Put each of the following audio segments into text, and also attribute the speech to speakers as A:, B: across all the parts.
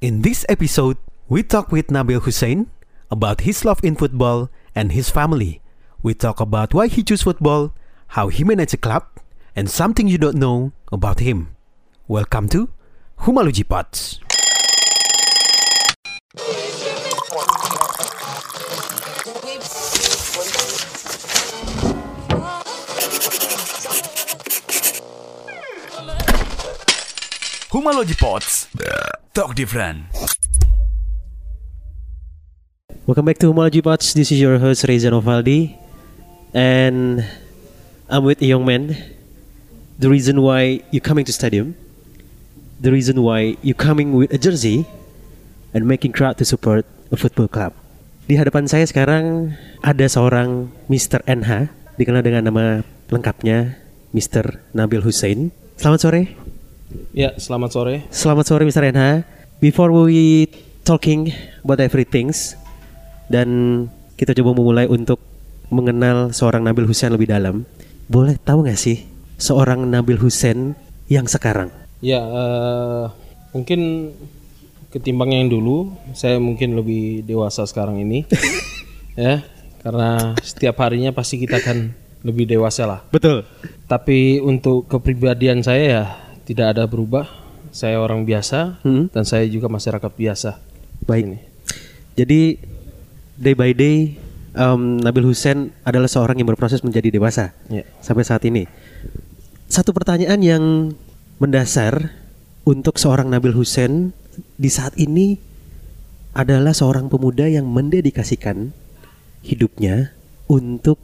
A: In this episode, we talk with Nabil Hussein about his love in football and his family. We talk about why he chose football, how he managed a club, and something you don't know about him. Welcome to Humaluji Pots.
B: Humalogy Pods. Talk different.
C: Welcome back to Homology Pods. This is your host Reza Novaldi, and I'm with a young man. The reason why you're coming to stadium, the reason why you're coming with a jersey, and making crowd to support a football club. Di hadapan saya sekarang ada seorang Mr. NH, dikenal dengan nama lengkapnya Mr. Nabil Hussein. Selamat sore.
D: Ya, selamat sore.
C: Selamat sore Mr. Renha. Before we talking about everything dan kita coba memulai untuk mengenal seorang Nabil Hussein lebih dalam. Boleh tahu nggak sih seorang Nabil Hussein yang sekarang?
D: Ya, eh, mungkin ketimbang yang dulu, saya mungkin lebih dewasa sekarang ini. ya, karena setiap harinya pasti kita akan lebih dewasa lah.
C: Betul.
D: Tapi untuk kepribadian saya ya tidak ada berubah. Saya orang biasa dan saya juga masyarakat biasa.
C: Hmm. Baik. Jadi day by day em, Nabil Hussein adalah seorang yang berproses menjadi dewasa
D: Ya.
C: sampai saat ini. Satu pertanyaan yang mendasar untuk seorang Nabil Hussein di saat ini adalah seorang pemuda yang mendedikasikan hidupnya untuk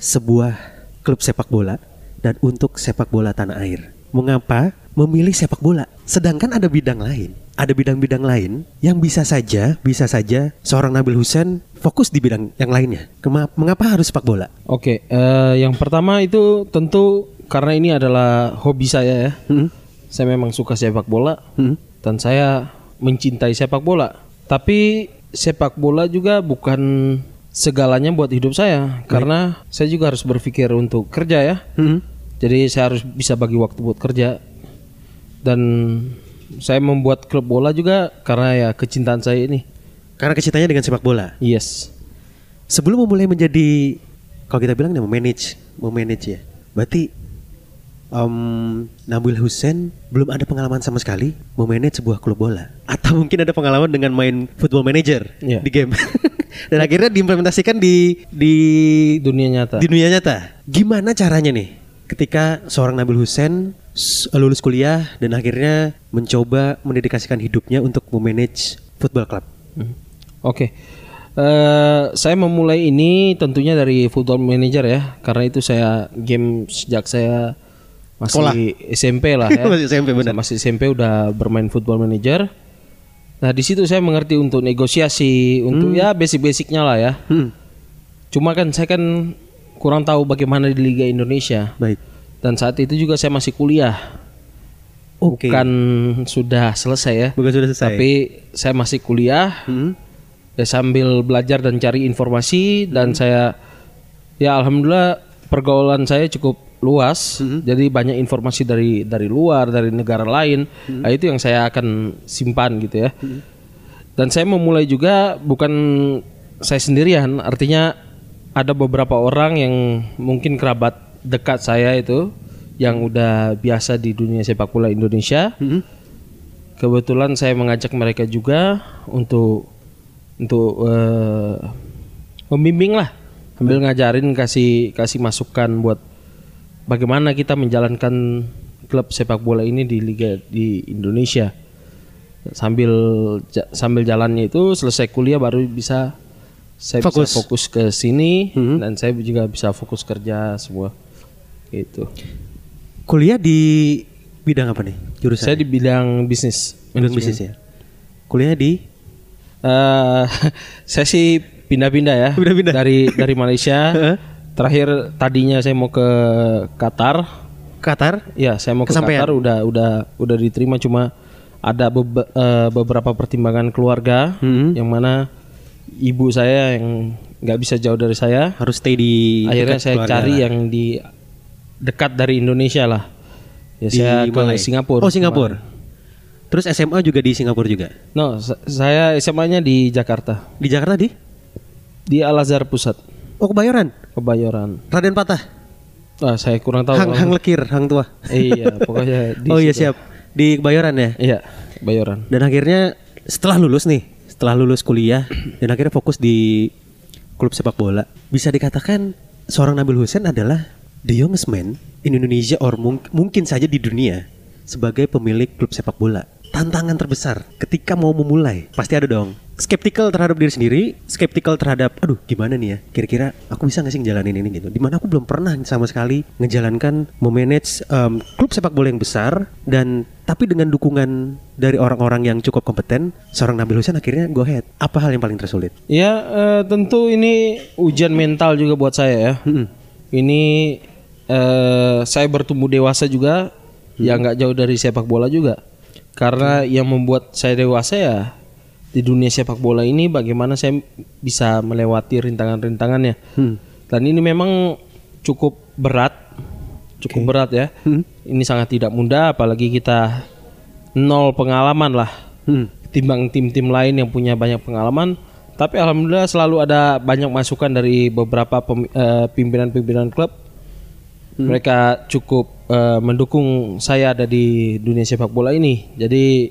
C: sebuah klub sepak bola dan untuk sepak bola tanah air. Mengapa memilih sepak bola? Sedangkan ada bidang lain, ada bidang-bidang lain yang bisa saja, bisa saja seorang Nabil Hussein fokus di bidang yang lainnya. Kema- mengapa harus sepak bola?
D: Oke, eh, yang pertama itu tentu karena ini adalah hobi saya ya.
C: Hmm?
D: Saya memang suka sepak bola
C: Hmm?
D: dan saya mencintai sepak bola. Tapi sepak bola juga bukan segalanya buat hidup saya karena saya juga harus berpikir untuk kerja ya.
C: Hmm?
D: Jadi saya harus bisa bagi waktu buat kerja. Dan saya membuat klub bola juga karena ya kecintaan saya ini.
C: Karena kecintanya dengan sepak bola.
D: Yes.
C: Sebelum memulai menjadi kalau kita bilang ya memanage, memanage ya. Berarti em, Nabil Hussein belum ada pengalaman sama sekali memanage sebuah klub bola atau mungkin ada pengalaman dengan main football manager
D: Iya.
C: di game. Dan akhirnya diimplementasikan di di
D: Dunia nyata.
C: di dunia nyata. Gimana caranya nih ketika seorang Nabil Hussein s- lulus kuliah dan akhirnya mencoba mendedikasikan hidupnya untuk memanage football club?
D: Hmm. Oke. Eh, saya memulai ini tentunya dari Football Manager ya, karena itu saya game sejak saya masih SMP lah ya.
C: Masih SMP, benar.
D: Saya Masih SMP udah bermain Football Manager. Nah, di situ saya mengerti untuk negosiasi, untuk ya basic-basicnya lah ya.
C: Hmm,
D: Cuma kan saya kan kurang tahu bagaimana di Liga Indonesia.
C: baik.
D: Dan saat itu juga saya masih kuliah.
C: Oke.
D: Bukan sudah selesai ya.
C: Bukan sudah selesai.
D: Tapi saya masih kuliah.
C: Hmm.
D: ya sambil belajar dan cari informasi dan saya ya alhamdulillah pergaulan saya cukup luas jadi banyak informasi dari dari luar dari negara lain nah, itu yang saya akan simpan gitu ya dan saya memulai juga bukan saya sendirian artinya ada beberapa orang yang mungkin kerabat dekat saya itu yang udah biasa di dunia sepak bola Indonesia kebetulan saya mengajak mereka juga untuk untuk eh, membimbing lah sambil ngajarin kasih kasih masukan buat bagaimana kita menjalankan klub sepak bola ini di liga di Indonesia sambil ja- sambil jalannya itu selesai kuliah baru bisa saya
C: Fokus. Mhm.
D: bisa fokus ke sini dan saya juga bisa fokus kerja semua gitu
C: Kuliah di bidang apa nih? Jurusan.
D: saya di bidang bisnis
C: bidang bisnis ya. Kuliahnya di
D: Eh, saya sih pindah-pindah ya.
C: Pindah-pindah.
D: Dari dari Malaysia. Terakhir tadinya saya mau ke Qatar.
C: Qatar.
D: Ya, saya mau ke
C: Kesampaian.
D: Qatar udah udah udah diterima cuma ada bebe- eh, beberapa pertimbangan keluarga
C: Mhm.
D: yang mana ibu saya yang nggak bisa jauh dari saya.
C: Harus stay di dekat
D: Akhirnya saya
C: keluarga
D: cari
C: lah.
D: yang di dekat dari Indonesia lah. Ya
C: di
D: saya ke
C: Malai.
D: Singapura.
C: Oh, Singapura. Terus SMA juga di Singapura juga.
D: No, sa- saya SMA-nya di Jakarta,
C: Di Jakarta di?
D: di Al Azhar Pusat,
C: Oh Kebayoran.
D: Kebayoran.
C: Raden Patah.
D: Ah, saya kurang tahu.
C: hang
D: kalau-
C: hang lekir, hang tua.
D: Iya, pokoknya di
C: oh iya siap.
D: situ.
C: Di Kebayoran ya.
D: Iya, Kebayoran.
C: Dan akhirnya setelah lulus nih, setelah lulus kuliah dan akhirnya fokus di klub sepak bola, bisa dikatakan seorang Nabil Hussein adalah the youngest man in Indonesia or mung- mungkin saja di dunia sebagai pemilik klub sepak bola. Tantangan terbesar ketika mau memulai pasti ada dong. Skeptical terhadap diri sendiri, skeptical terhadap aduh gimana nih ya? Kira-kira aku bisa nggak sih ngejalanin ini gitu? Dimana aku belum pernah sama sekali ngejalankan memanage em, klub sepak bola yang besar dan tapi dengan dukungan dari orang-orang yang cukup kompeten, seorang Nabil Hussein akhirnya go ahead. Apa hal yang paling tersulit?
D: Ya eh, tentu ini ujian mental juga buat saya ya.
C: Hmm.
D: Ini eh, saya bertumbuh dewasa juga,
C: Hmm.
D: ya nggak jauh dari sepak bola juga. Karena yang membuat saya dewasa ya di dunia sepak bola ini bagaimana saya bisa melewati rintangan-rintangannya.
C: Hmm.
D: Dan ini memang cukup berat, cukup berat ya. Ini sangat tidak mudah, apalagi kita nol pengalaman lah timbang tim-tim lain yang punya banyak pengalaman. Tapi alhamdulillah selalu ada banyak masukan dari beberapa pem- eh, pimpinan-pimpinan klub. Mereka cukup eh, mendukung saya ada di dunia sepak bola ini. Jadi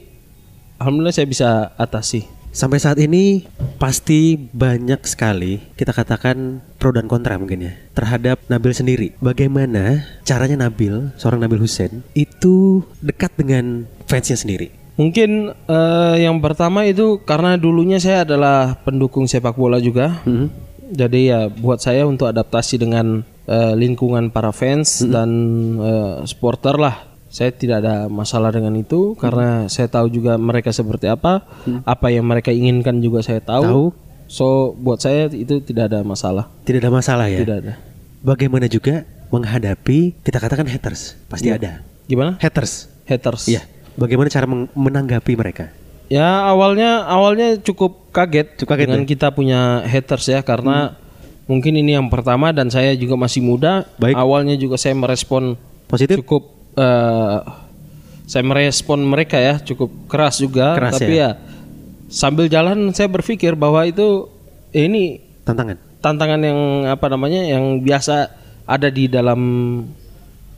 D: alhamdulillah saya bisa atasi.
C: Sampai saat ini pasti banyak sekali kita katakan pro dan kontra mungkin ya terhadap Nabil sendiri. Bagaimana caranya Nabil, seorang Nabil Hussein itu dekat dengan fansnya sendiri?
D: Mungkin eh, yang pertama itu karena dulunya saya adalah pendukung sepak bola juga. Jadi ya buat saya untuk adaptasi dengan eh, lingkungan para fans dan eh, supporter lah. Saya tidak ada masalah dengan itu karena saya tahu juga mereka seperti apa, apa yang mereka inginkan juga saya
C: Tahu.
D: tahu. So buat saya itu tidak ada masalah.
C: Tidak ada masalah ya.
D: Tidak ada.
C: Bagaimana juga menghadapi kita katakan haters? Pasti
D: Iya.
C: ada.
D: Gimana?
C: Haters.
D: Haters.
C: Iya. Bagaimana cara meng- menanggapi mereka?
D: Ya awalnya awalnya cukup kaget,
C: Cukup kaget ya? Hmm.
D: dengan kita punya haters ya karena mungkin ini yang pertama dan saya juga masih muda.
C: Baik.
D: Awalnya juga saya merespon
C: Positif?
D: cukup eh, saya merespon mereka ya cukup keras juga.
C: Keras
D: tapi ya. sambil jalan saya berpikir bahwa itu ya ini
C: Tantangan.
D: tantangan yang apa namanya yang biasa ada di dalam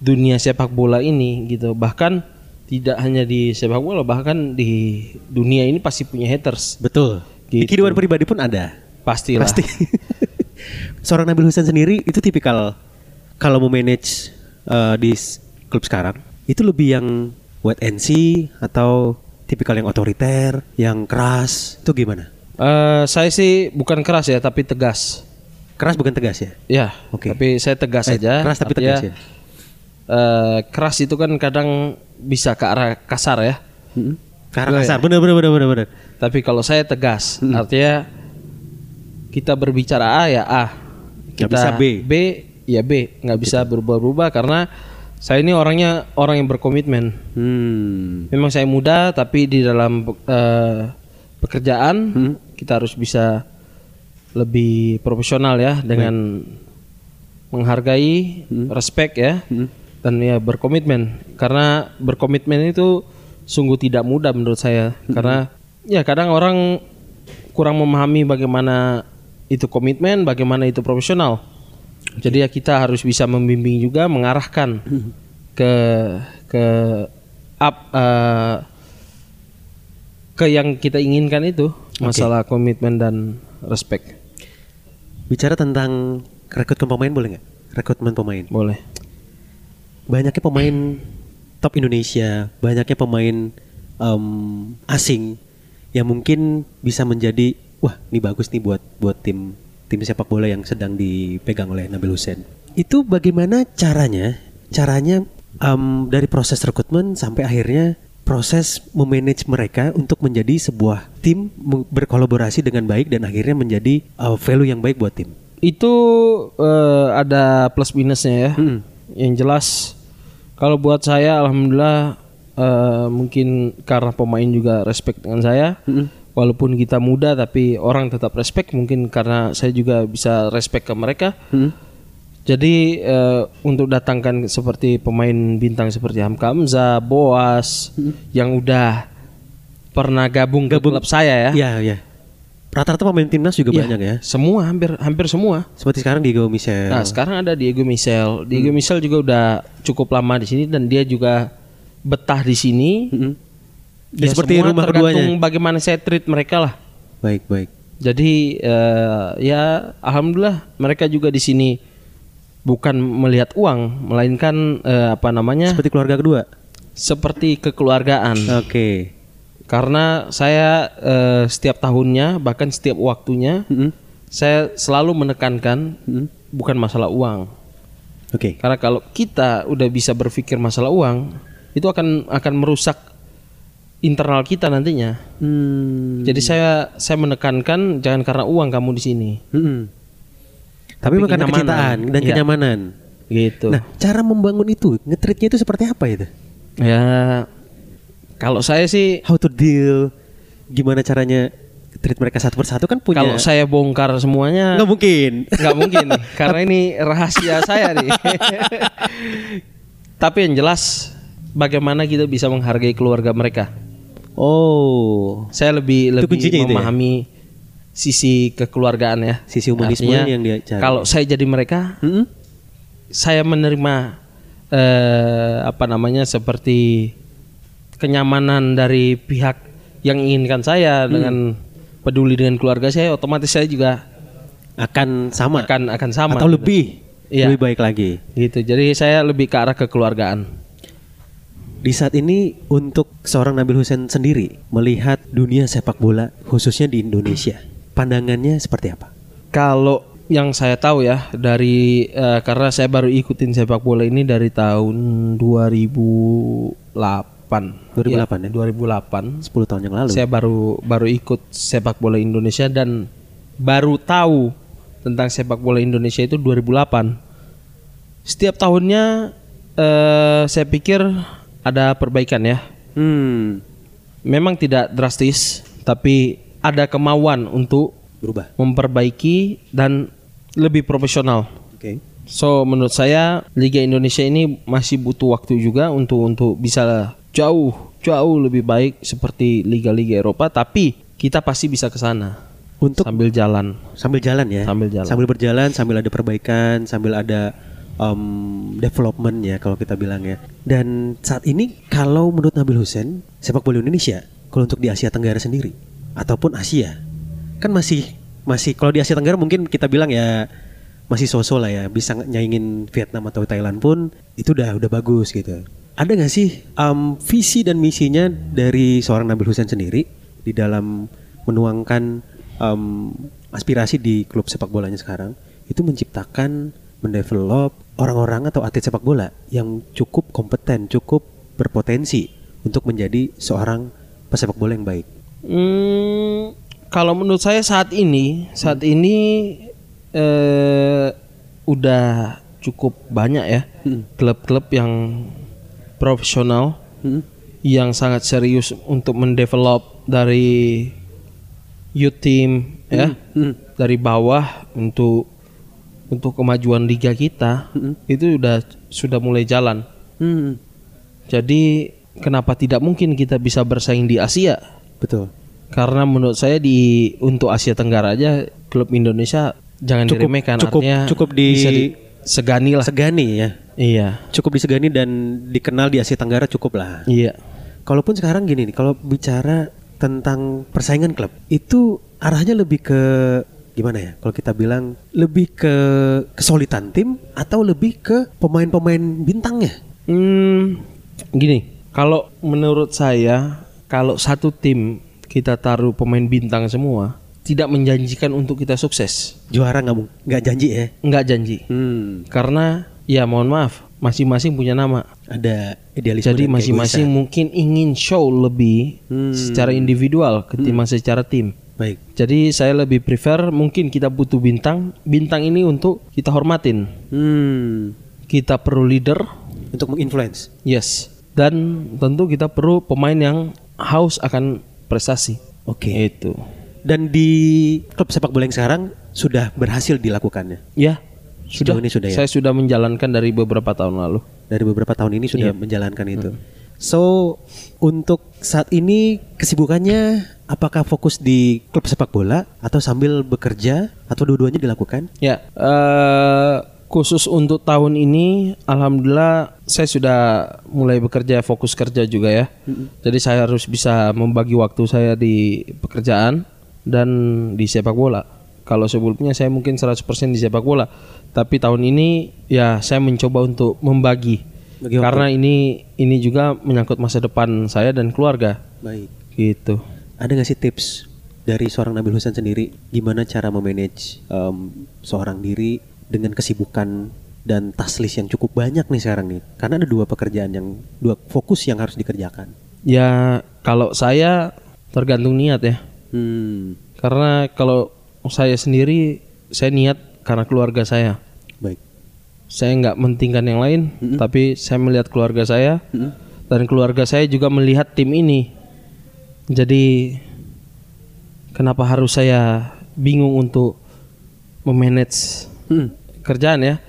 D: dunia sepak bola ini gitu bahkan tidak hanya di sepak bola bahkan di dunia ini pasti punya haters
C: Betul. Di
D: Gitu.
C: kehidupan pribadi pun ada.
D: pastilah
C: Pasti. Seorang Nabil Hussein sendiri itu tipikal kalau mau manage uh, di s- klub sekarang itu lebih yang wait and see atau tipikal yang otoriter, yang keras. Itu gimana?
D: Eh, saya sih bukan keras ya tapi tegas
C: Keras bukan tegas ya?
D: ya
C: Oke.
D: tapi saya tegas
C: Eh,
D: saja
C: keras tapi tegas ya.
D: eh, keras itu kan kadang bisa ke arah kasar ya
C: Mm-mm. Ke arah kasar. Bener bener bener bener bener.
D: tapi kalau saya tegas
C: Hmm.
D: artinya kita berbicara A ya A
C: Nggak
D: kita
C: bisa B. Gitu.
D: B ya B nggak bisa berubah-ubah karena saya ini orangnya orang yang berkomitmen
C: Hmm.
D: memang saya muda tapi di dalam eh, pekerjaan kita harus bisa lebih profesional ya dengan menghargai respect ya dan ya berkomitmen karena berkomitmen itu sungguh tidak mudah menurut saya karena ya kadang orang kurang memahami bagaimana itu komitmen bagaimana itu profesional jadi ya kita harus bisa membimbing juga mengarahkan ke ke up eh, ke yang kita inginkan itu masalah komitmen dan respect
C: Bicara tentang rekrutmen pemain boleh nggak? Rekrutmen pemain.
D: boleh
C: banyaknya pemain top Indonesia, banyaknya pemain em, asing yang mungkin bisa menjadi wah ini bagus nih buat buat tim tim sepak bola yang sedang dipegang oleh Nabil Hussein. Itu bagaimana caranya? Caranya em, dari proses rekrutmen sampai akhirnya proses memanage mereka untuk menjadi sebuah tim meng- berkolaborasi dengan baik dan akhirnya menjadi eh, value yang baik buat tim.
D: itu eh, ada plus minusnya ya yang jelas kalau buat saya alhamdulillah eh, mungkin karena pemain juga respect dengan saya walaupun kita muda tapi orang tetap respect mungkin karena saya juga bisa respect ke mereka Jadi eh, untuk datangkan seperti pemain bintang seperti Hamka Hamzah, Boas yang udah pernah Hmm. gabung, ke klub saya ya.
C: Iya, iya. Rata-rata pemain timnas juga
D: Iya,
C: banyak ya.
D: Semua hampir hampir semua.
C: Seperti sekarang Diego Michel.
D: Nah, sekarang ada Diego Michel.
C: Hmm.
D: Diego Michel juga udah cukup lama di sini dan dia juga betah di sini.
C: Mm-mm. Ya, seperti
D: semua
C: rumah
D: tergantung
C: keduanya.
D: bagaimana saya treat mereka lah.
C: Baik, baik.
D: Jadi eh, ya alhamdulillah mereka juga di sini bukan melihat uang melainkan eh, apa namanya
C: Seperti Ya. keluarga kedua.
D: seperti kekeluargaan.
C: Oke.
D: Karena saya eh, setiap tahunnya bahkan setiap waktunya
C: Mm-mm.
D: saya selalu menekankan
C: Hmm.
D: bukan masalah uang.
C: Oke.
D: Karena kalau kita udah bisa berpikir masalah uang, itu akan akan merusak internal kita nantinya.
C: Hmm.
D: Jadi saya saya menekankan jangan karena uang kamu di sini.
C: Mm-mm. hmm, Tapi, bukan
D: kenyamanan.
C: kecintaan dan
D: Iya.
C: kenyamanan.
D: Gitu.
C: Nah, cara membangun itu, ngetritnya itu seperti apa itu?
D: Ya kalau saya sih
C: How to deal? Gimana caranya treat mereka satu persatu kan punya?
D: kalau saya bongkar semuanya
C: nggak mungkin.
D: nggak mungkin nih, karena ini rahasia saya nih. Tapi yang jelas bagaimana kita bisa menghargai keluarga mereka.
C: Oh,
D: Saya lebih
C: Itu
D: lebih
C: kuncinya itu ya?
D: memahami sisi kekeluargaan ya.
C: Sisi humanisme
D: Artinya,
C: yang dia cari.
D: Kalau saya jadi mereka,
C: Mm-mm.
D: saya menerima eh, apa namanya seperti kenyamanan dari pihak yang inginkan
C: Hmm.
D: saya dengan peduli dengan keluarga saya, otomatis saya juga
C: akan sama
D: akan akan sama
C: atau
D: gitu.
C: lebih,
D: Iya.
C: lebih baik lagi.
D: gitu. Jadi saya lebih ke arah kekeluargaan.
C: Di saat ini untuk seorang Nabil Hussein sendiri melihat dunia sepak bola khususnya di Indonesia, pandangannya seperti apa?
D: Kalau yang saya tahu ya dari eh, karena saya baru ikutin sepak bola ini dari tahun
C: 2008
D: 2008. Iya,
C: ya?
D: 2008.
C: 10 tahun yang lalu.
D: Saya baru baru ikut sepak bola Indonesia dan baru tahu tentang sepak bola Indonesia itu 2008. Setiap tahunnya eh, saya pikir ada perbaikan ya.
C: Hmm,
D: Memang tidak drastis, tapi ada kemauan untuk
C: berubah.
D: memperbaiki dan lebih profesional.
C: Oke.
D: So menurut saya Liga Indonesia ini masih butuh waktu juga untuk untuk bisa jauh jauh lebih baik seperti liga-liga Eropa tapi kita pasti bisa ke sana
C: Untuk
D: sambil jalan.
C: sambil jalan ya.
D: Sambil jalan.
C: Sambil berjalan, sambil ada perbaikan, sambil ada um, development ya kalau kita bilang ya. Dan saat ini kalau menurut Nabil Hussein, sepak bola Indonesia kalau untuk di Asia Tenggara sendiri ataupun Asia kan masih masih kalau di Asia Tenggara mungkin kita bilang ya masih sosok lah ya bisa nyaingin Vietnam atau Thailand pun itu udah udah bagus gitu. Ada nggak sih um, visi dan misinya dari seorang Nabil Hussein sendiri di dalam menuangkan um, aspirasi di klub sepak bolanya sekarang itu menciptakan mendevelop orang-orang atau atlet sepak bola yang cukup kompeten, cukup berpotensi untuk menjadi seorang pesepak bola yang baik.
D: Hmm, kalau menurut saya saat ini saat ini eh, udah cukup banyak ya klub-klub yang profesional yang sangat serius untuk mendevelop dari youth team ya dari bawah untuk untuk kemajuan liga kita itu udah sudah mulai jalan. Jadi kenapa tidak mungkin kita bisa bersaing di Asia?
C: Betul.
D: Karena menurut saya di untuk Asia Tenggara aja klub Indonesia jangan
C: Cukup-
D: diremehkan
C: cukup-
D: artinya
C: cukup di-
D: bisa disegani lah.
C: Segani ya.
D: iya.
C: Cukup disegani dan dikenal di Asia Tenggara cukup lah.
D: Iya.
C: Kalaupun sekarang gini nih, kalau bicara tentang persaingan klub, itu arahnya lebih ke gimana ya? Kalau kita bilang lebih ke kesulitan tim atau lebih ke pemain-pemain bintangnya?
D: Hmm, gini, kalau menurut saya kalau satu tim kita taruh pemain bintang semua tidak menjanjikan untuk kita sukses.
C: Juara nggak mu- nggak janji ya?
D: Nggak janji.
C: Hmm,
D: Karena ya mohon maaf, masing-masing punya nama.
C: ada idealisme.
D: Jadi
C: dan
D: masing-masing
C: keegoisan.
D: mungkin ingin show lebih
C: Hmm.
D: secara individual ketimbang secara tim.
C: Baik.
D: Jadi saya lebih prefer mungkin kita butuh bintang. Bintang ini untuk kita hormatin.
C: Hmm,
D: Kita perlu leader,
C: untuk menginfluence.
D: yes. Dan tentu kita perlu pemain yang haus akan prestasi. Gitu.
C: Oke.
D: Itu.
C: Dan di klub sepak bola yang sekarang sudah berhasil dilakukannya.
D: Ya.
C: Sejauh ini sudah ya?
D: Saya sudah menjalankan dari beberapa tahun lalu.
C: Iya. Dari beberapa tahun ini sudah menjalankan itu. So untuk saat ini kesibukannya apakah fokus di klub sepak bola atau sambil bekerja atau dua-duanya dilakukan?
D: Ya, eh, khusus untuk tahun ini, alhamdulillah saya sudah mulai bekerja fokus kerja juga ya. Jadi saya harus bisa membagi waktu saya di pekerjaan dan di sepak bola. Kalau sebelumnya saya mungkin 100% di sepak bola, tapi tahun ini ya saya mencoba untuk membagi.
C: Bagi waktu.
D: Karena ini ini juga menyangkut masa depan saya dan keluarga.
C: Baik.
D: Gitu.
C: Ada nggak sih tips dari seorang Nabil Husain sendiri gimana cara memanage em, seorang diri dengan kesibukan dan task list yang cukup banyak nih sekarang nih? Karena ada dua pekerjaan yang dua fokus yang harus dikerjakan.
D: Ya kalau saya tergantung niat ya.
C: Hmm,
D: Karena kalau saya sendiri, saya niat karena keluarga saya.
C: baik.
D: Saya nggak mentingkan yang lain, tapi saya melihat keluarga saya dan keluarga saya juga melihat tim ini. Jadi kenapa harus saya bingung untuk memanage
C: Hmm.
D: kerjaan ya?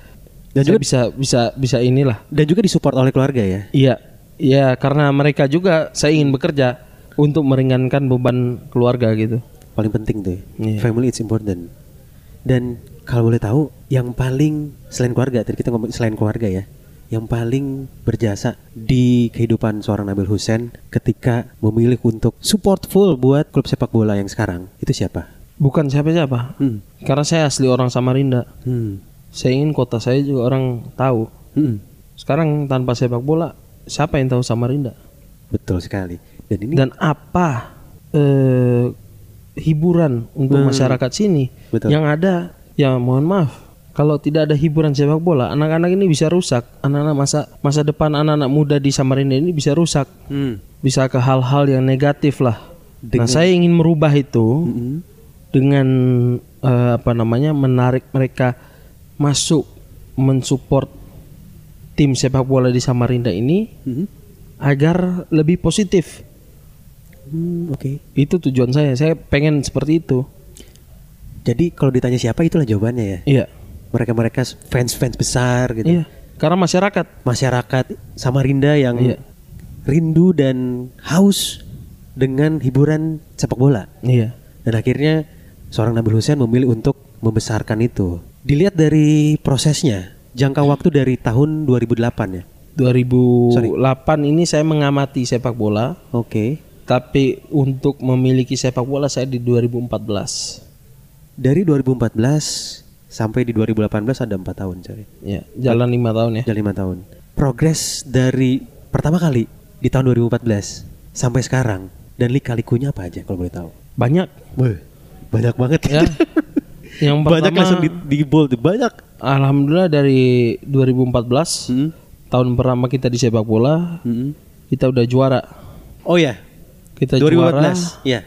C: Dan
D: Dan saya bisa bisa bisa inilah.
C: Dan juga disupport oleh keluarga ya.
D: Iya, iya karena mereka juga saya ingin bekerja untuk meringankan beban keluarga gitu.
C: Paling penting tuh. ya.
D: Iya.
C: Family it's important. Dan kalau boleh tahu yang paling selain keluarga tadi kita ngomong selain keluarga ya. Yang paling berjasa di kehidupan seorang Nabil Hussein ketika memilih untuk support full buat klub sepak bola yang sekarang itu siapa?
D: Bukan siapa-siapa.
C: Hmm.
D: Karena saya asli orang Samarinda.
C: Hmm.
D: Saya ingin kota saya juga orang tahu.
C: Hmm.
D: Sekarang tanpa sepak bola, siapa yang tahu Samarinda?
C: Betul sekali. Dan ini
D: Dan apa eh, hiburan untuk masyarakat sini?
C: Hmm. Betul.
D: Yang ada, ya mohon maaf. Kalau tidak ada hiburan sepak bola, anak-anak ini bisa rusak. Anak-anak masa masa depan anak-anak muda di Samarinda ini bisa rusak.
C: Hmm.
D: Bisa ke hal-hal yang negatif lah. Nah, saya ingin merubah itu
C: Hmm.
D: dengan eh, apa namanya menarik mereka masuk mensupport tim sepak bola di Samarinda ini
C: Mhm.
D: agar lebih positif.
C: Hmm, oke.
D: Itu tujuan saya. Saya pengen seperti itu.
C: Jadi kalau ditanya siapa itulah jawabannya ya.
D: Iya.
C: Mereka-mereka fans-fans besar gitu.
D: Iya. Karena masyarakat
C: masyarakat Samarinda yang
D: Iya.
C: rindu dan haus dengan hiburan sepak bola.
D: Iya.
C: Dan akhirnya seorang Nabil Hussein memilih untuk membesarkan itu. Dilihat dari prosesnya, jangka waktu dari tahun 2008 ya.
D: 2008 ini saya mengamati sepak bola,
C: Oke.
D: tapi untuk memiliki sepak bola saya di 2014.
C: Dari 2014 sampai di 2018 ada 4 tahun, sorry.
D: Ya, jalan lima tahun ya.
C: Ada 5 tahun. Progres dari pertama kali di tahun 2014 sampai sekarang dan lika-likunya apa aja kalau boleh tahu?
D: Banyak
C: Wih, banyak banget
D: ya. Yang pertama
C: banyak langsung di, di bold banyak
D: Alhamdulillah dari 2014 tahun pertama kita di sepak bola kita udah juara.
C: oh ya
D: Kita juara
C: 2014 ya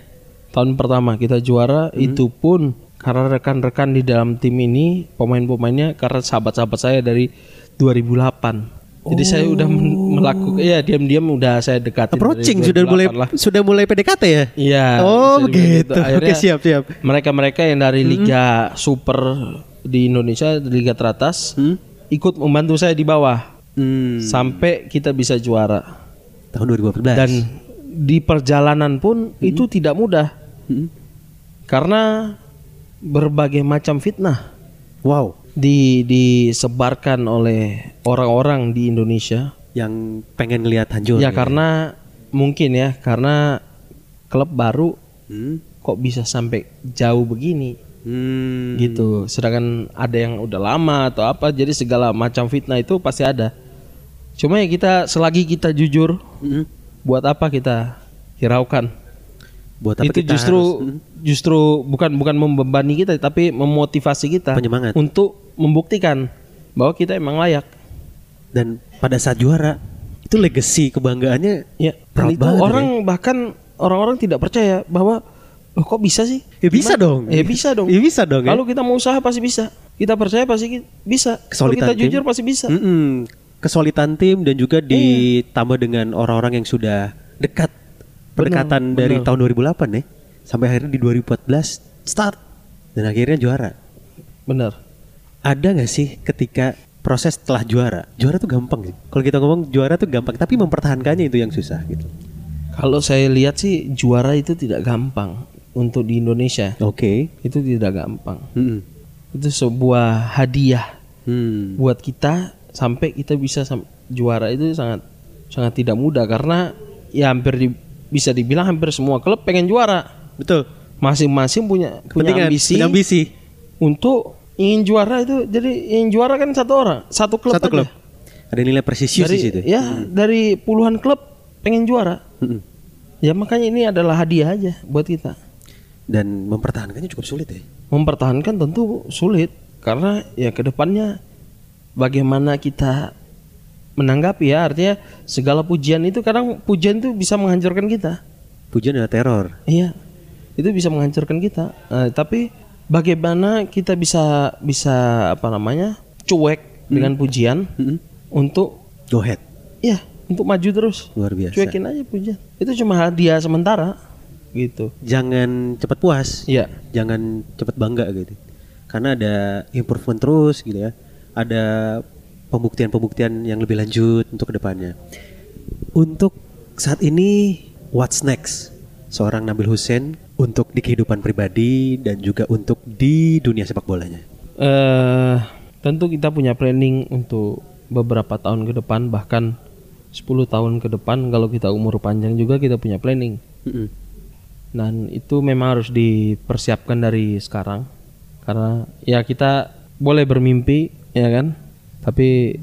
D: tahun pertama kita juara
C: Hmm.
D: itu pun karena rekan-rekan di dalam tim ini pemain-pemainnya karena sahabat-sahabat saya dari 2008. Jadi saya
C: Oh.
D: udah men- melakukan ya diam-diam udah saya dekatin dari
C: approaching sudah
D: 2008
C: mulai
D: lah.
C: sudah mulai PDKT ya
D: Iya.
C: oh
D: bisa dibilang
C: gitu oke
D: Akhirnya
C: siap siap Hmm.
D: Mereka-mereka yang dari liga super di Indonesia, di liga teratas, ikut membantu saya di bawah
C: Hmm,
D: sampai kita bisa juara.
C: tahun 2014
D: Dan di perjalanan pun itu tidak mudah. Karena berbagai macam fitnah
C: wow
D: di disebarkan oleh orang-orang di Indonesia.
C: yang pengen ngelihat hancur
D: Ya karena mungkin ya, karena klub baru
C: Hmm.
D: kok bisa sampai jauh begini
C: Hmm.
D: gitu. Sedangkan ada yang udah lama atau apa, jadi segala macam fitnah itu pasti ada. Cuma ya kita selagi kita jujur,
C: Mm-mm.
D: buat apa kita hiraukan?
C: buat apa
D: itu
C: kita
D: justru
C: harus- hmm?
D: justru bukan bukan membebani kita, tapi memotivasi kita
C: Penyemangat.
D: untuk membuktikan bahwa kita emang layak.
C: dan pada saat juara itu legacy kebanggaannya
D: Ya,
C: Proud
D: dan itu
C: banget
D: orang bahkan orang-orang tidak percaya bahwa "Loh, kok bisa sih?
C: Ya, bisa dong.
D: Ya bisa dong.
C: Ya, bisa dong, ya.
D: Kalau kita mau usaha pasti bisa. Kita percaya pasti ki- bisa. Kalau
C: Kesulitan Hmm?
D: kita
C: tim.
D: jujur pasti bisa. Iya.
C: Mm-mm. kesulitan tim dan juga ditambah dengan orang-orang yang sudah dekat pendekatan dari tahun 2008 nih ya, sampai akhirnya di 2014 start dan akhirnya juara.
D: Benar.
C: Ada nggak sih ketika proses setelah juara. Juara tuh gampang ya. Kalau kita ngomong juara tuh gampang, tapi mempertahankannya itu yang susah gitu.
D: Kalau saya lihat sih juara itu tidak gampang untuk di Indonesia.
C: Oke.
D: Itu tidak gampang.
C: Mm-mm.
D: Itu sebuah hadiah
C: Hmm.
D: buat kita sampai kita bisa sam- juara itu sangat sangat tidak mudah karena ya hampir di- bisa dibilang hampir semua klub pengen juara.
C: Betul.
D: Masing-masing punya punya
C: Kepentingan,
D: ambisi,
C: punya ambisi.
D: untuk ingin juara itu. Jadi ingin juara kan satu orang, satu klub
C: Satu
D: aja.
C: klub. Ada nilai presisius
D: dari
C: di situ. Hmm.
D: ya dari puluhan klub pengen juara.
C: Mm-mm.
D: Ya makanya ini adalah hadiah aja buat kita.
C: Dan mempertahankannya cukup sulit ya.
D: mempertahankan tentu sulit karena ya kedepannya bagaimana kita menanggapi ya artinya segala pujian itu kadang pujian itu bisa menghancurkan kita
C: Pujian adalah teror.
D: iya itu bisa menghancurkan kita Eh, tapi bagaimana kita bisa bisa apa namanya
C: Hmm.
D: cuek dengan pujian untuk
C: Go ahead.
D: ya untuk maju terus
C: Luar biasa.
D: cuekin aja pujian itu cuma hadiah sementara gitu
C: Jangan cepat puas. ya.
D: Iya.
C: Jangan cepat bangga gitu. Karena ada improvement terus gitu ya. Ada pembuktian-pembuktian yang lebih lanjut untuk kedepannya. Untuk saat ini what's next seorang Nabil Hussein untuk di kehidupan pribadi dan juga untuk di dunia sepak bolanya.
D: eh tentu kita punya planning untuk beberapa tahun ke depan bahkan 10 tahun ke depan kalau kita umur panjang juga kita punya planning.
C: Mm-mm.
D: Dan itu memang harus dipersiapkan dari sekarang karena ya kita boleh bermimpi ya kan tapi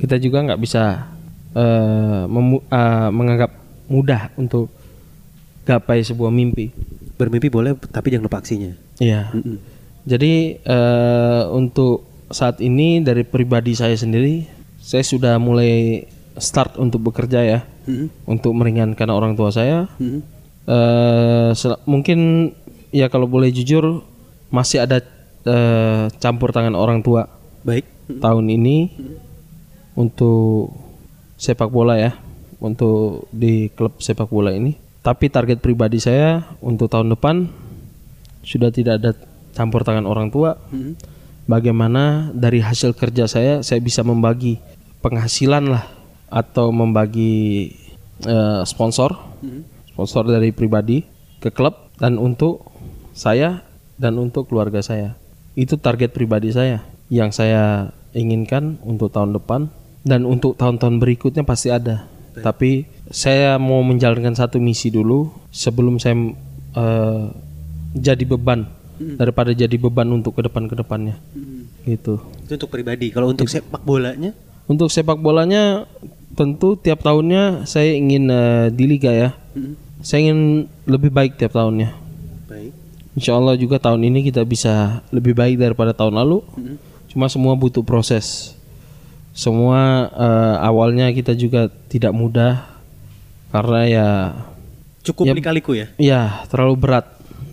D: kita juga nggak bisa eh, memu- eh, menganggap mudah untuk gapai sebuah mimpi.
C: Bermimpi boleh tapi jangan lupa aksinya.
D: Iya. Jadi eh, untuk saat ini dari pribadi saya sendiri, saya sudah mulai start untuk bekerja ya, untuk meringankan orang tua saya. Eh, sel- mungkin ya kalau boleh jujur masih ada eh, campur tangan orang tua
C: Baik.
D: tahun ini untuk sepak bola ya untuk di klub sepak bola ini tapi target pribadi saya untuk tahun depan sudah tidak ada campur tangan orang tua bagaimana dari hasil kerja saya saya bisa membagi penghasilan lah atau membagi eh, sponsor sponsor dari pribadi ke klub dan untuk saya dan untuk keluarga saya itu target pribadi saya yang saya inginkan untuk tahun depan dan untuk tahun-tahun berikutnya pasti ada tapi saya mau menjalankan satu misi dulu sebelum saya eh, jadi beban daripada jadi beban untuk ke depan ke depannya gitu
C: Itu untuk pribadi. Kalau untuk sepak bolanya
D: untuk sepak bolanya tentu tiap tahunnya saya ingin eh, di liga ya saya ingin lebih baik tiap tahunnya
C: baik.
D: Insya Allah juga tahun ini kita bisa lebih baik daripada tahun lalu. Cuma semua butuh proses. Semua eh, awalnya kita juga tidak mudah karena ya
C: Cukup lika-liku ya.
D: ya terlalu berat,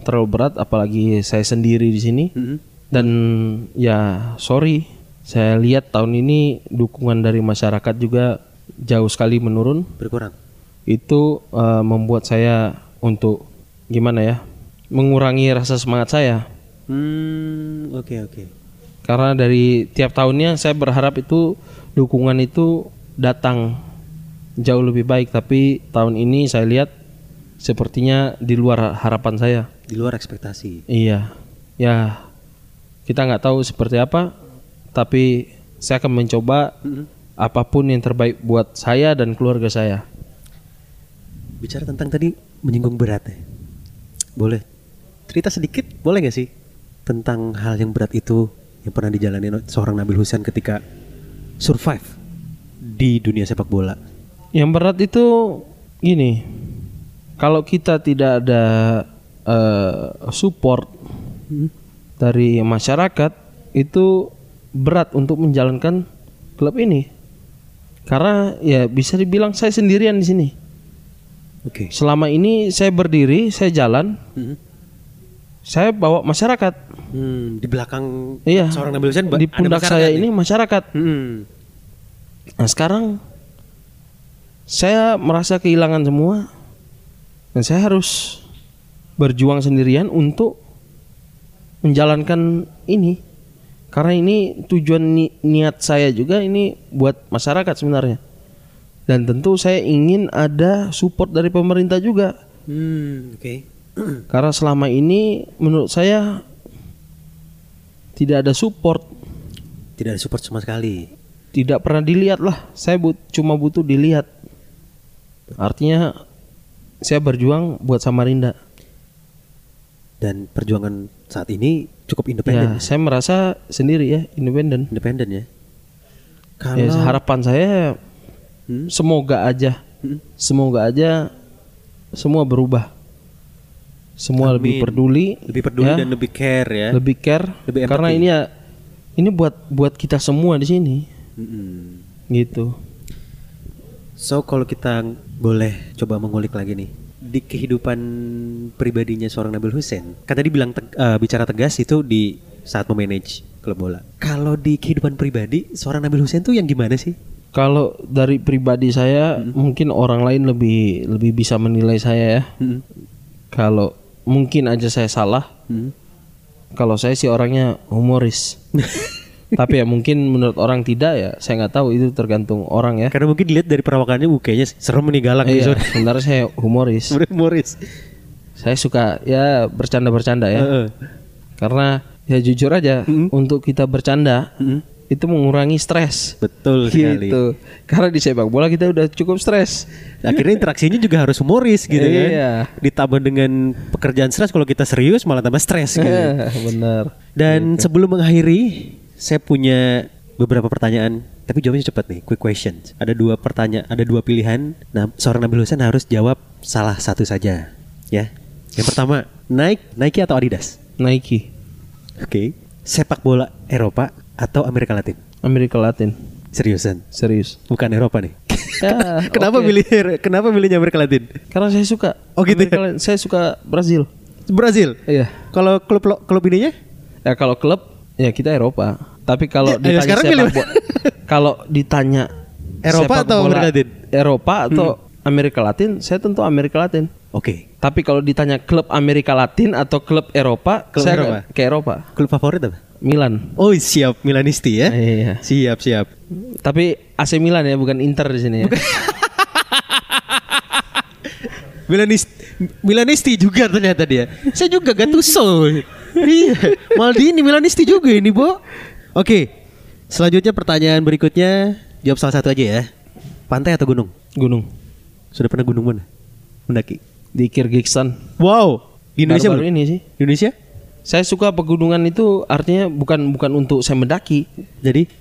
D: terlalu berat apalagi saya sendiri di sini.
C: Mm-hmm.
D: Dan ya sorry, saya lihat tahun ini dukungan dari masyarakat juga jauh sekali menurun
C: Berkurang.
D: itu eh, membuat saya untuk gimana ya mengurangi rasa semangat saya
C: Hmm, oke oke.
D: karena dari tiap tahunnya saya berharap itu dukungan itu datang jauh lebih baik tapi tahun ini saya lihat sepertinya di luar harapan saya
C: Di luar ekspektasi.
D: iya ya kita nggak tahu seperti apa tapi saya akan mencoba apapun yang terbaik buat saya dan keluarga saya
C: Bicara tentang tadi menyinggung berat ya. Boleh. Cerita sedikit, boleh nggak sih tentang hal yang berat itu yang pernah dijalani seorang Nabil Husain ketika survive di dunia sepak bola.
D: Yang berat itu gini, kalau kita tidak ada eh, support dari masyarakat itu berat untuk menjalankan klub ini. Karena ya bisa dibilang saya sendirian di sini.
C: Oke.
D: Selama ini saya berdiri, saya jalan,
C: Mhm.
D: saya bawa masyarakat.
C: Hmm, di belakang
D: Iya.
C: seorang Nabil Husain ba-
D: di
C: ada
D: pundak
C: masyarakat
D: saya
C: nih.
D: ini masyarakat.
C: Hmm.
D: Nah sekarang saya merasa kehilangan semua dan saya harus berjuang sendirian untuk menjalankan ini Karena ini tujuan ni- niat saya juga ini buat masyarakat sebenarnya. Dan tentu saya ingin ada support dari pemerintah juga.
C: Hmm, oke.
D: Karena selama ini menurut saya tidak ada support,
C: Tidak ada support sama sekali.
D: tidak pernah dilihat lah. Saya but- cuma butuh dilihat. Artinya saya berjuang buat Samarinda.
C: Dan perjuangan saat ini cukup
D: Ya,
C: independen.
D: saya merasa sendiri ya, independen.
C: Independen ya. Kalau
D: Ya, harapan saya
C: Hmm?
D: semoga aja, semoga aja semua berubah, semua lebih peduli,
C: lebih peduli
D: ya,
C: dan lebih care ya.
D: lebih care,
C: lebih empati.
D: karena ini ya, ini buat buat kita semua di sini,
C: Mm-mm.
D: gitu.
C: So kalau kita boleh coba mengulik lagi nih di kehidupan pribadinya seorang Nabil Hussein. Kan tadi bilang teg- eh, bicara tegas itu di saat memanage klub bola. Kalau di kehidupan pribadi seorang Nabil Hussein tuh yang gimana sih?
D: Kalau dari pribadi saya,
C: Hmm.
D: mungkin orang lain lebih lebih bisa menilai saya ya.
C: Mm-mm.
D: Kalau mungkin aja saya salah,
C: Mm.
D: kalau saya sih orangnya humoris tapi ya mungkin menurut orang tidak ya saya nggak tahu itu tergantung orang ya
C: Karena mungkin dilihat dari perawakannya uh, kayaknya serem nih galak nih,
D: iya, Ya.
C: Son.
D: sebenarnya saya humoris
C: Sebenarnya humoris.
D: saya suka ya bercanda-bercanda ya
C: Heeh. Hmm.
D: karena ya jujur aja untuk kita bercanda itu mengurangi stres
C: Betul sekali.
D: gitu karena di sepak bola kita udah cukup stres
C: Akhirnya interaksinya juga harus humoris gitu kan.
D: Iya.
C: Ditambah dengan pekerjaan stres kalau kita serius malah tambah stres gitu.
D: Iya. bener
C: Dan sebelum mengakhiri, saya punya beberapa pertanyaan, tapi jawabnya cepat nih, quick questions. Ada dua pertanyaan, ada dua pilihan. Nah, seorang Nabil Hussein harus jawab salah satu saja, ya. Yang pertama, Nike, Nike atau Adidas?
D: Nike
C: Oke. Sepak bola Eropa atau Amerika Latin?
D: Amerika Latin
C: Seriusan,
D: serius
C: bukan Eropa nih.
D: Ya,
C: kenapa
D: oke.
C: milih kenapa milihnya Amerika Latin?
D: karena saya suka
C: Oh, gitu ya?
D: Amerika Latin. saya suka Brazil
C: Brazil.
D: iya
C: Kalau klub klub ininya?
D: Ya kalau klub ya kita Eropa. Tapi
C: Ya, ayo
D: kalau ditanya
C: sekarang
D: sepak
C: pilih.
D: bola- kalau ditanya
C: Eropa
D: sepak
C: atau
D: bola
C: Amerika Latin?
D: Eropa atau Amerika Latin, saya tentu Amerika Latin.
C: Oke.
D: Tapi kalau ditanya klub Amerika Latin atau klub Eropa,
C: Klub
D: saya
C: Eropa.
D: ke Eropa,
C: Klub favorit apa?
D: Milan.
C: Oh, siap Milanisti ya.
D: Iya.
C: Siap, siap.
D: Tapi AC Milan ya, bukan Inter di sini ya.
C: Milanis Milanisti juga ternyata dia. Saya juga Gattuso. iya, Maldini Milanisti juga ini, Bo. Oke. Selanjutnya pertanyaan berikutnya, jawab salah satu aja ya. Pantai atau gunung?
D: Gunung
C: Sudah pernah gunung mana? Mendaki.
D: di Kyrgyzstan.
C: Wow, di Indonesia
D: baru,
C: belum?
D: ini sih.
C: Di Indonesia?
D: Saya suka pegunungan itu artinya bukan bukan untuk saya mendaki,
C: Jadi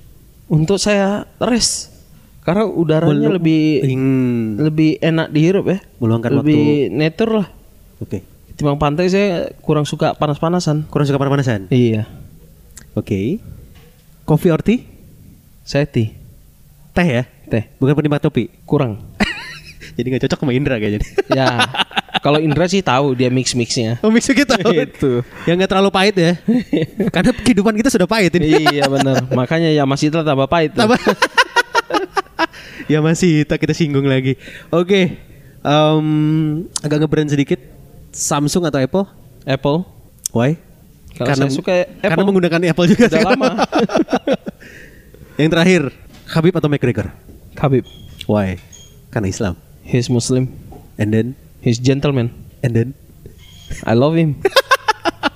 D: untuk saya rest. Karena udaranya
C: Melu-
D: lebih
C: Hmm,
D: lebih enak dihirup ya
C: meluangkan
D: lebih nature lah
C: waktu. Oke.
D: ketimbang pantai saya kurang suka panas-panasan
C: Kurang suka panas-panasan.
D: iya
C: Oke. Kopi or tea?
D: saya teh
C: Teh ya?
D: teh
C: Bukan penikmat topi.
D: kurang
C: Jadi nggak cocok sama Indra kayaknya.
D: ya kalau Indra sih tahu dia mix mixnya
C: Oh mixu kita
D: Itu.
C: Yang nggak terlalu pahit ya Karena kehidupan kita sudah pahit ini
D: iya benar makanya ya masih tetap tambah pahit tuh.
C: Tambah- Ya masih kita, kita singgung lagi Oke Em, Agak ngebrand sedikit Samsung atau Apple
D: Apple
C: Why?
D: Kalau saya suka Apple.
C: Karena menggunakan Apple juga
D: Udah
C: sekarang.
D: lama.
C: Yang terakhir Habib atau McGregor
D: Khabib
C: Why? Karena Islam
D: he's Muslim
C: And then
D: he's gentleman
C: And then
D: I love him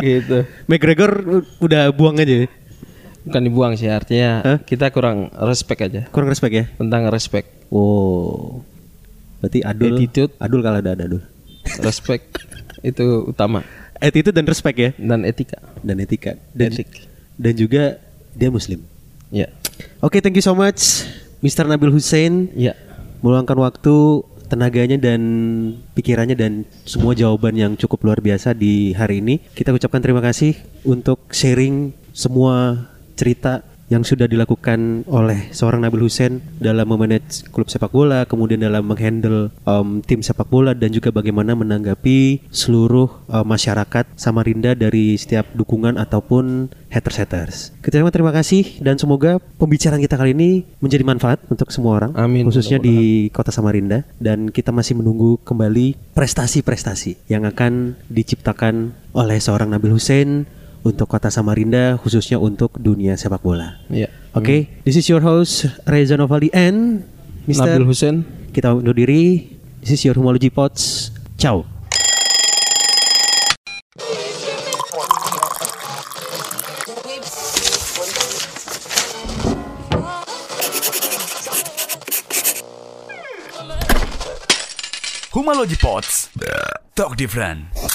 D: gitu
C: McGregor udah buang aja ya?
D: bukan dibuang sih artinya
C: Hah?
D: kita kurang respect aja
C: Kurang respect ya
D: tentang respect
C: Wow Berarti adul
D: Attitude.
C: Adul kalau ada ada adul
D: respect itu utama
C: attitude dan respect ya
D: dan etika
C: dan etika dan,
D: Etik.
C: dan juga dia muslim
D: ya
C: oke thank you so much Mr. Nabil Hussein
D: ya
C: meluangkan waktu tenaganya dan pikirannya dan semua jawaban yang cukup luar biasa di hari ini kita ucapkan terima kasih untuk sharing semua cerita yang sudah dilakukan oleh seorang Nabil Hussein dalam memanage klub sepak bola, kemudian dalam menghandle em, tim sepak bola dan juga bagaimana menanggapi seluruh eh, masyarakat Samarinda dari setiap dukungan ataupun haters-haters. Kita ucapkan terima kasih dan semoga pembicaraan kita kali ini menjadi manfaat untuk semua orang
D: Amin.
C: khususnya di Kota Samarinda dan kita masih menunggu kembali prestasi-prestasi yang akan diciptakan oleh seorang Nabil Hussein untuk kota Samarinda khususnya untuk dunia sepak bola.
D: Iya.
C: Oke, this is your host Reza Novali and Mr.
D: Nabil Hussein.
C: Kita undur diri. This is your Humology Pots. Ciao.
A: Humalogy Pots. Talk different.